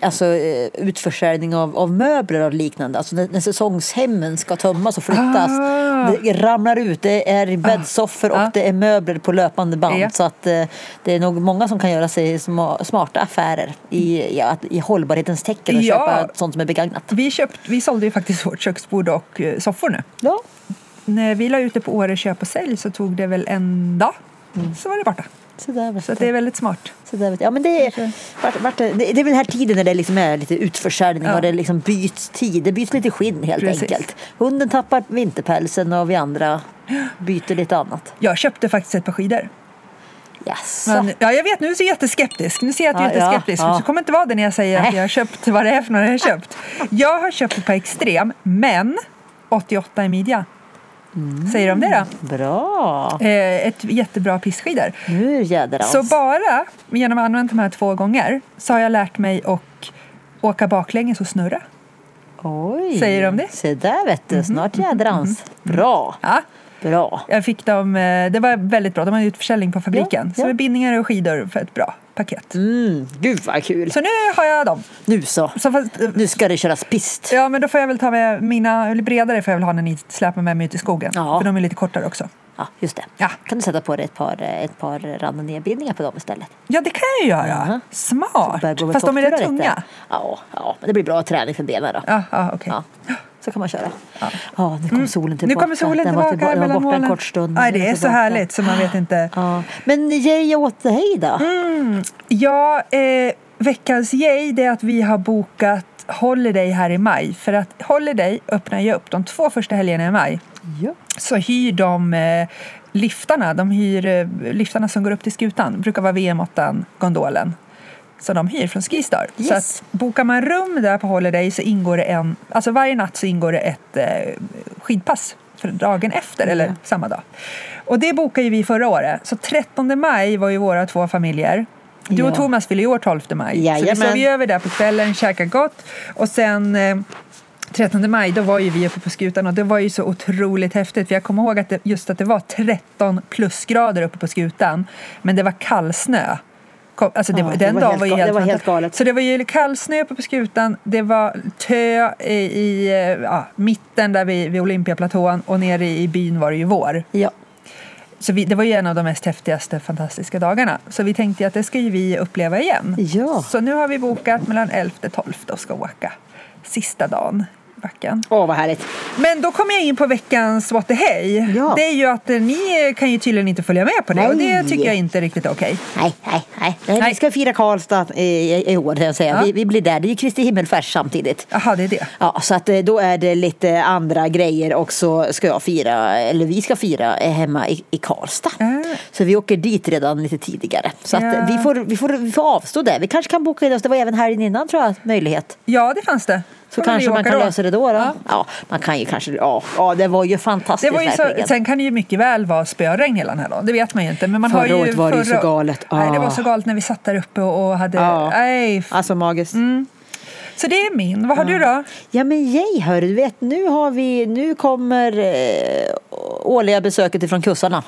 [SPEAKER 2] alltså, eh, utförsäljning av, av möbler och liknande. Alltså när, när säsongshemmen ska tömmas och flyttas.
[SPEAKER 3] Ah.
[SPEAKER 2] Det ramlar ut, det är bäddsoffor och
[SPEAKER 3] Ah.
[SPEAKER 2] det är möbler på löpande band.
[SPEAKER 3] Ja.
[SPEAKER 2] Så att, eh, det är nog många som kan göra sig sma- smarta affärer i, ja, att- i hållbarhetens tecken och
[SPEAKER 3] Ja.
[SPEAKER 2] köpa sånt som är begagnat.
[SPEAKER 3] Vi, köpt, vi sålde ju faktiskt vårt köksbord och eh, soffor nu.
[SPEAKER 2] Ja.
[SPEAKER 3] När vi la ut det på Åre köp och sälj så tog det väl en dag,
[SPEAKER 2] Mm.
[SPEAKER 3] så var det borta.
[SPEAKER 2] Så där, vet
[SPEAKER 3] Så att
[SPEAKER 2] du.
[SPEAKER 3] det är väldigt smart.
[SPEAKER 2] Så där, vet jag. ja, men det, är, vart, vart, det, det är väl den här tiden när det liksom är lite utförsäljning
[SPEAKER 3] Ja.
[SPEAKER 2] och det liksom byts tid. Det byts lite skinn helt
[SPEAKER 3] Precis.
[SPEAKER 2] enkelt. Hunden tappar vinterpälsen och vi andra byter lite annat.
[SPEAKER 3] Jag köpte faktiskt ett par skidor.
[SPEAKER 2] Jaså?
[SPEAKER 3] Men, ja, jag vet, nu är jag jätteskeptisk. Nu ser jag att du är
[SPEAKER 2] Ja, ja,
[SPEAKER 3] jätteskeptisk.
[SPEAKER 2] ja.
[SPEAKER 3] Så kommer det inte vara det när jag säger att
[SPEAKER 2] Nej.
[SPEAKER 3] jag har köpt vad det är för några jag har köpt. Jag har köpt ett par Extrem, men 88 i midja.
[SPEAKER 2] Mm.
[SPEAKER 3] Säger de det då?
[SPEAKER 2] Bra!
[SPEAKER 3] Eh, ett jättebra pissskidor.
[SPEAKER 2] Nu jädrans.
[SPEAKER 3] Så bara genom att använda de här två gånger så har jag lärt mig att åka baklänges och snurra.
[SPEAKER 2] Oj.
[SPEAKER 3] Säger de det? Mhm,
[SPEAKER 2] Se där vet du, snart jädrans. Bra!
[SPEAKER 3] Ja.
[SPEAKER 2] Bra.
[SPEAKER 3] Jag fick dem, eh, det var väldigt bra. De hade utförsäljning på fabriken.
[SPEAKER 2] ja.
[SPEAKER 3] Så med bindningar och skidor för ett bra paket.
[SPEAKER 2] Mm, gud vad kul.
[SPEAKER 3] Så nu har jag dem.
[SPEAKER 2] Nu så.
[SPEAKER 3] Så fast, eh,
[SPEAKER 2] Nu ska det köras pist.
[SPEAKER 3] ja, men då får jag väl ta med mina, eller bredare får jag väl ha när ni släpar med mig ut i skogen.
[SPEAKER 2] Ja.
[SPEAKER 3] För de är lite kortare också.
[SPEAKER 2] Ja, just det.
[SPEAKER 3] Ja.
[SPEAKER 2] Kan du sätta på dig ett par, ett par randonébindningar på dem istället?
[SPEAKER 3] Ja, det kan jag ju göra.
[SPEAKER 2] Mhm.
[SPEAKER 3] Smart!
[SPEAKER 2] Börjar gå med
[SPEAKER 3] Fast de är rätt
[SPEAKER 2] toppturar lite.
[SPEAKER 3] tunga.
[SPEAKER 2] Ja, ja, men det blir bra träning för benen då.
[SPEAKER 3] Ja, ja, okej.
[SPEAKER 2] Ja, så kan man köra. Ja, nu kom solen
[SPEAKER 3] Mm. Nu
[SPEAKER 2] tillbaka.
[SPEAKER 3] kommer solen
[SPEAKER 2] Den var
[SPEAKER 3] tillbaka
[SPEAKER 2] tillba- den var
[SPEAKER 3] mellan
[SPEAKER 2] borta en
[SPEAKER 3] molnen.
[SPEAKER 2] kort stund.
[SPEAKER 3] Nej,
[SPEAKER 2] nu
[SPEAKER 3] det är så
[SPEAKER 2] tillbaka. Ah.
[SPEAKER 3] härligt Mm. så man vet inte.
[SPEAKER 2] Ja. Men yay åt dig då.
[SPEAKER 3] Ja, eh, veckans yay det är att vi har bokat Holiday här i maj. För att Holiday öppnar ju upp de två första helgerna i maj.
[SPEAKER 2] Ja.
[SPEAKER 3] Så hyr de eh, liftarna, de hyr eh, liftarna som går upp till skutan. brukar vara VM8, gondolen. Så de hyr från Skistar. Så
[SPEAKER 2] Yes.
[SPEAKER 3] att bokar man rum där på Holiday så ingår det en, alltså varje natt så ingår det ett eh, skidpass för dagen efter eller samma dag. Och det bokade ju vi förra året. Så 13 maj var ju våra två familjer. Du och
[SPEAKER 2] Ja.
[SPEAKER 3] Thomas fyller ju år 12 maj. Så vi
[SPEAKER 2] Jajamän.
[SPEAKER 3] sov ju över där på kvällen, käkade gott och sen eh, 13 maj, då var ju vi uppe på skutan och det var ju så otroligt häftigt. För jag kommer ihåg att det, just att det var 13 plusgrader uppe på skutan, men det var kallsnö. Kom- Alltså det,
[SPEAKER 2] Ja,
[SPEAKER 3] var-
[SPEAKER 2] det
[SPEAKER 3] den
[SPEAKER 2] var
[SPEAKER 3] dagen
[SPEAKER 2] helt
[SPEAKER 3] var ju
[SPEAKER 2] ga-
[SPEAKER 3] helt,
[SPEAKER 2] det var helt
[SPEAKER 3] fantastisk.
[SPEAKER 2] galet.
[SPEAKER 3] Så det var ju kallsnö uppe på skutan, det var tö i, i eh, ja, mitten där vid, vid Olympiaplatån och nere i, i byn var det ju vår.
[SPEAKER 2] ja.
[SPEAKER 3] Så vi, det var ju en av de mest häftigaste fantastiska dagarna. Så vi tänkte ju att det ska ju vi uppleva igen.
[SPEAKER 2] Ja.
[SPEAKER 3] Så nu har vi bokat mellan 11 och 12 och ska åka sista dagen i backen.
[SPEAKER 2] Åh, vad härligt.
[SPEAKER 3] Men då kommer jag in på veckans What the Hey.
[SPEAKER 2] Ja.
[SPEAKER 3] Det är ju att eh, ni kan ju tydligen inte följa med på det och det
[SPEAKER 2] Nej.
[SPEAKER 3] tycker jag inte är riktigt är okej.
[SPEAKER 2] Nej, nej, nej. nej.
[SPEAKER 3] Nej.
[SPEAKER 2] Vi ska fira Karlstad i, i, i år, kan jag säga.
[SPEAKER 3] Ja.
[SPEAKER 2] Vi, vi blir där. Det är ju Kristi himmelfärd samtidigt.
[SPEAKER 3] Jaha, det är det.
[SPEAKER 2] Ja, så att eh, då är det lite andra grejer och så ska jag fira, eller vi ska fira eh, hemma i, i Karlstad.
[SPEAKER 3] Ah.
[SPEAKER 2] Så vi åker dit redan lite tidigare. Så att eh,
[SPEAKER 3] Ja.
[SPEAKER 2] vi, får, vi, får, vi får avstå det. Vi kanske kan boka in oss, det var även helgen innan tror jag, möjlighet.
[SPEAKER 3] Ja, det fanns det.
[SPEAKER 2] Så
[SPEAKER 3] Får vi
[SPEAKER 2] kanske man
[SPEAKER 3] åka
[SPEAKER 2] kan
[SPEAKER 3] då.
[SPEAKER 2] lösa det då. då.
[SPEAKER 3] Ja.
[SPEAKER 2] Ja. man kan ju kanske, ja, ja det var ju
[SPEAKER 3] Det
[SPEAKER 2] fantastiskt
[SPEAKER 3] var ju så,
[SPEAKER 2] verkligen.
[SPEAKER 3] sen kan det ju mycket väl vara spöregn hela den här dagen, det vet man ju inte. Men man har
[SPEAKER 2] Förra
[SPEAKER 3] ju,
[SPEAKER 2] året var det ju så galet.
[SPEAKER 3] Nej, det var
[SPEAKER 2] Ah.
[SPEAKER 3] så galet när vi satt där uppe och och hade...
[SPEAKER 2] Ja.
[SPEAKER 3] Nej, f-
[SPEAKER 2] Alltså magiskt.
[SPEAKER 3] Mm. Så det är min. Vad har
[SPEAKER 2] Mm.
[SPEAKER 3] du då?
[SPEAKER 2] Ja men yay hörru, du vet nu har vi, nu kommer eh, årliga besöket ifrån kussarna.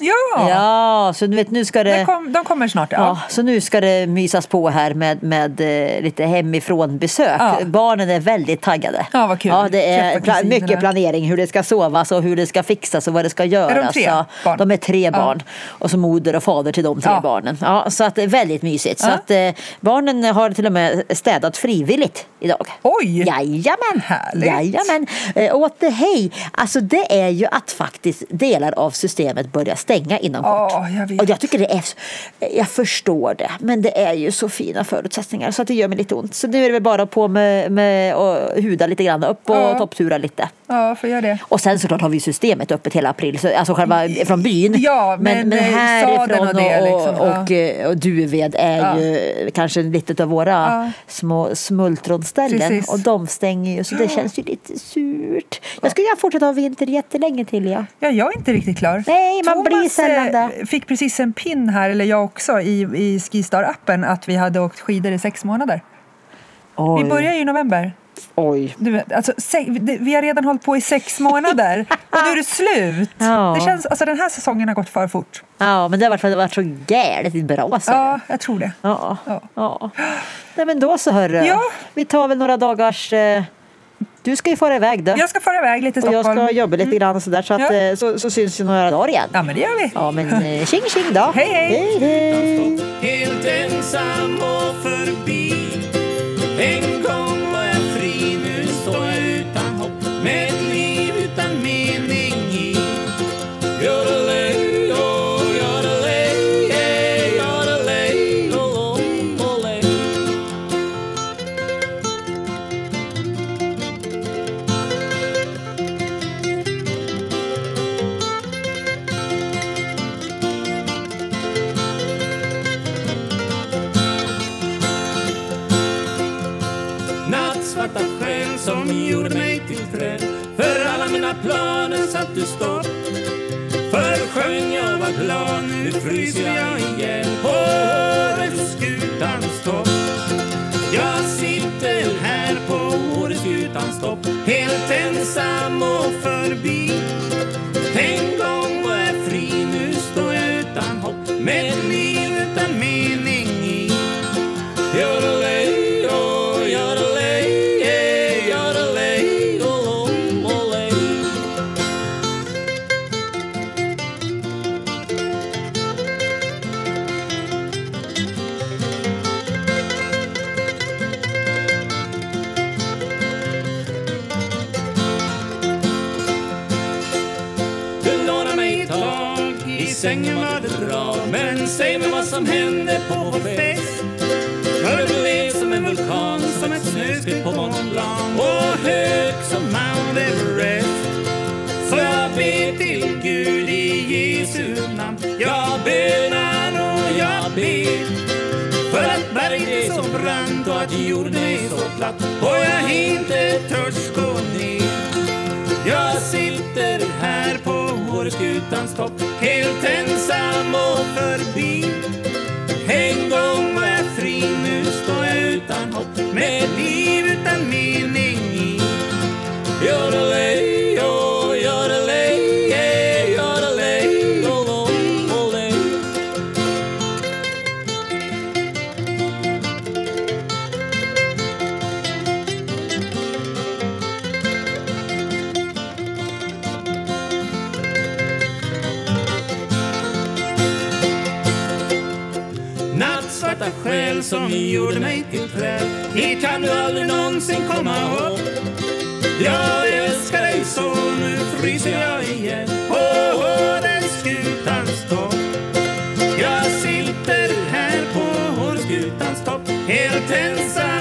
[SPEAKER 3] Ja!
[SPEAKER 2] Ja, så du vet nu ska
[SPEAKER 3] De,
[SPEAKER 2] det
[SPEAKER 3] kom, de kommer snart. Ja.
[SPEAKER 2] Ja, så nu ska det mysas på här med, med eh, lite hemifrån-besök.
[SPEAKER 3] Ja.
[SPEAKER 2] Barnen är väldigt taggade.
[SPEAKER 3] Ja, vad kul.
[SPEAKER 2] Ja, det är
[SPEAKER 3] Träffa
[SPEAKER 2] pla-
[SPEAKER 3] kusinerna.
[SPEAKER 2] mycket planering, hur det ska sovas och hur det ska fixas och vad det ska göras.
[SPEAKER 3] tre
[SPEAKER 2] ja,
[SPEAKER 3] barn?
[SPEAKER 2] de är tre
[SPEAKER 3] Ja.
[SPEAKER 2] barn. Och så moder och fader till de tre
[SPEAKER 3] Ja.
[SPEAKER 2] barnen. Ja, så att det är väldigt mysigt. Så
[SPEAKER 3] Ja.
[SPEAKER 2] att, eh, barnen har till och med städat frivilligt idag.
[SPEAKER 3] Oj!
[SPEAKER 2] Jajamän!
[SPEAKER 3] Härligt.
[SPEAKER 2] Jajamän! Eh, åt det hej! Alltså det är ju att faktiskt delar av systemet börjar stänga inom kort.
[SPEAKER 3] Ja, jag vet.
[SPEAKER 2] Och jag tycker det är, jag förstår det, men det är ju så fina förutsättningar så att det gör mig lite ont. Så nu är det väl bara på med, med och huda lite grann, upp och
[SPEAKER 3] Ja.
[SPEAKER 2] topptura lite.
[SPEAKER 3] Ja, får jag det.
[SPEAKER 2] Och sen såklart har vi ju systemet öppet hela april, så, alltså själva från byn.
[SPEAKER 3] Ja, men, eh, sadeln
[SPEAKER 2] härifrån
[SPEAKER 3] och det liksom,
[SPEAKER 2] och,
[SPEAKER 3] ja.
[SPEAKER 2] och, eh, och Duved är
[SPEAKER 3] Ja.
[SPEAKER 2] ju kanske lite av våra
[SPEAKER 3] Ja.
[SPEAKER 2] små smultronställen
[SPEAKER 3] Precis.
[SPEAKER 2] och de stänger ju så det känns ju lite surt. Jag skulle gärna fortsätta ha vinter jättelänge till ja.
[SPEAKER 3] Ja, jag är inte riktigt klar.
[SPEAKER 2] Nej, man
[SPEAKER 3] Thomas,
[SPEAKER 2] blir sällan
[SPEAKER 3] eh,
[SPEAKER 2] det.
[SPEAKER 3] fick precis en pin här, eller jag också, i, i Skistar-appen att vi hade åkt skidor i sex månader.
[SPEAKER 2] Oj,
[SPEAKER 3] Vi börjar ju i november.
[SPEAKER 2] oj.
[SPEAKER 3] Du, vet, alltså, se, det- vi har redan hållit på i sex månader och nu är det slut.
[SPEAKER 2] Ja.
[SPEAKER 3] Det känns, alltså, den här säsongen har gått för fort.
[SPEAKER 2] Ja, men det har varit, det har varit så jävligt bra så.
[SPEAKER 3] Ja, jag tror det.
[SPEAKER 2] Ja.
[SPEAKER 3] Ja.
[SPEAKER 2] ja. Nej men då så hörru.
[SPEAKER 3] Ja.
[SPEAKER 2] Vi tar väl några dagars... Eh, du ska ju fara iväg då.
[SPEAKER 3] Jag ska fara iväg lite till
[SPEAKER 2] och jag
[SPEAKER 3] Stockholm. Mm.
[SPEAKER 2] ska jobba lite grann och sådär så, att,
[SPEAKER 3] Ja.
[SPEAKER 2] eh, så, så syns vi några dagar igen.
[SPEAKER 3] Ja, men det gör vi.
[SPEAKER 2] Ja men eh, tjing tjing då.
[SPEAKER 3] Hej, hej.
[SPEAKER 2] hej, hej.
[SPEAKER 1] Helt ensam och förbi En gång var jag fri, nu står jag utan hopp Med ett liv utan mening i Yodelay, oh, yodelay, yeah, yodelay, oh, oh, olay. Nattsvarta sken som gjorde mig till träd För alla mina planer satt du stopp För sjöng jag var glad, nu fryser jag igen På årets skutans topp Jag sitter här på årets skutans topp Helt ensam och förbi Tänk oh, oh, Låna mig ta tag i sängen var det bra Men säg mig vad som hände på vår fest För du blev som en vulkan, som ett snöskred på Mont Blanc Och hög som Mount Everest Så jag ber till Gud i Jesu namn Jag bönar och jag ber för att berget är så brant och att jorden är så platt och jag inte törs gå ner. Jag sitter här på Åreskutans topp helt ensam och förbi. En gång var jag fri, nu står jag utan hopp med ett liv utan mening i. Yodelej, oh, yodelej, eh, yodelej, oh, oh, olej. Nattsvarta själ som gjorde mig till träd Hit kan du aldrig någonsin komma upp Jag älskar dig så, nu fryser jag igen På Åreskutans topp Jag sitter här på Åreskutans topp Helt ensam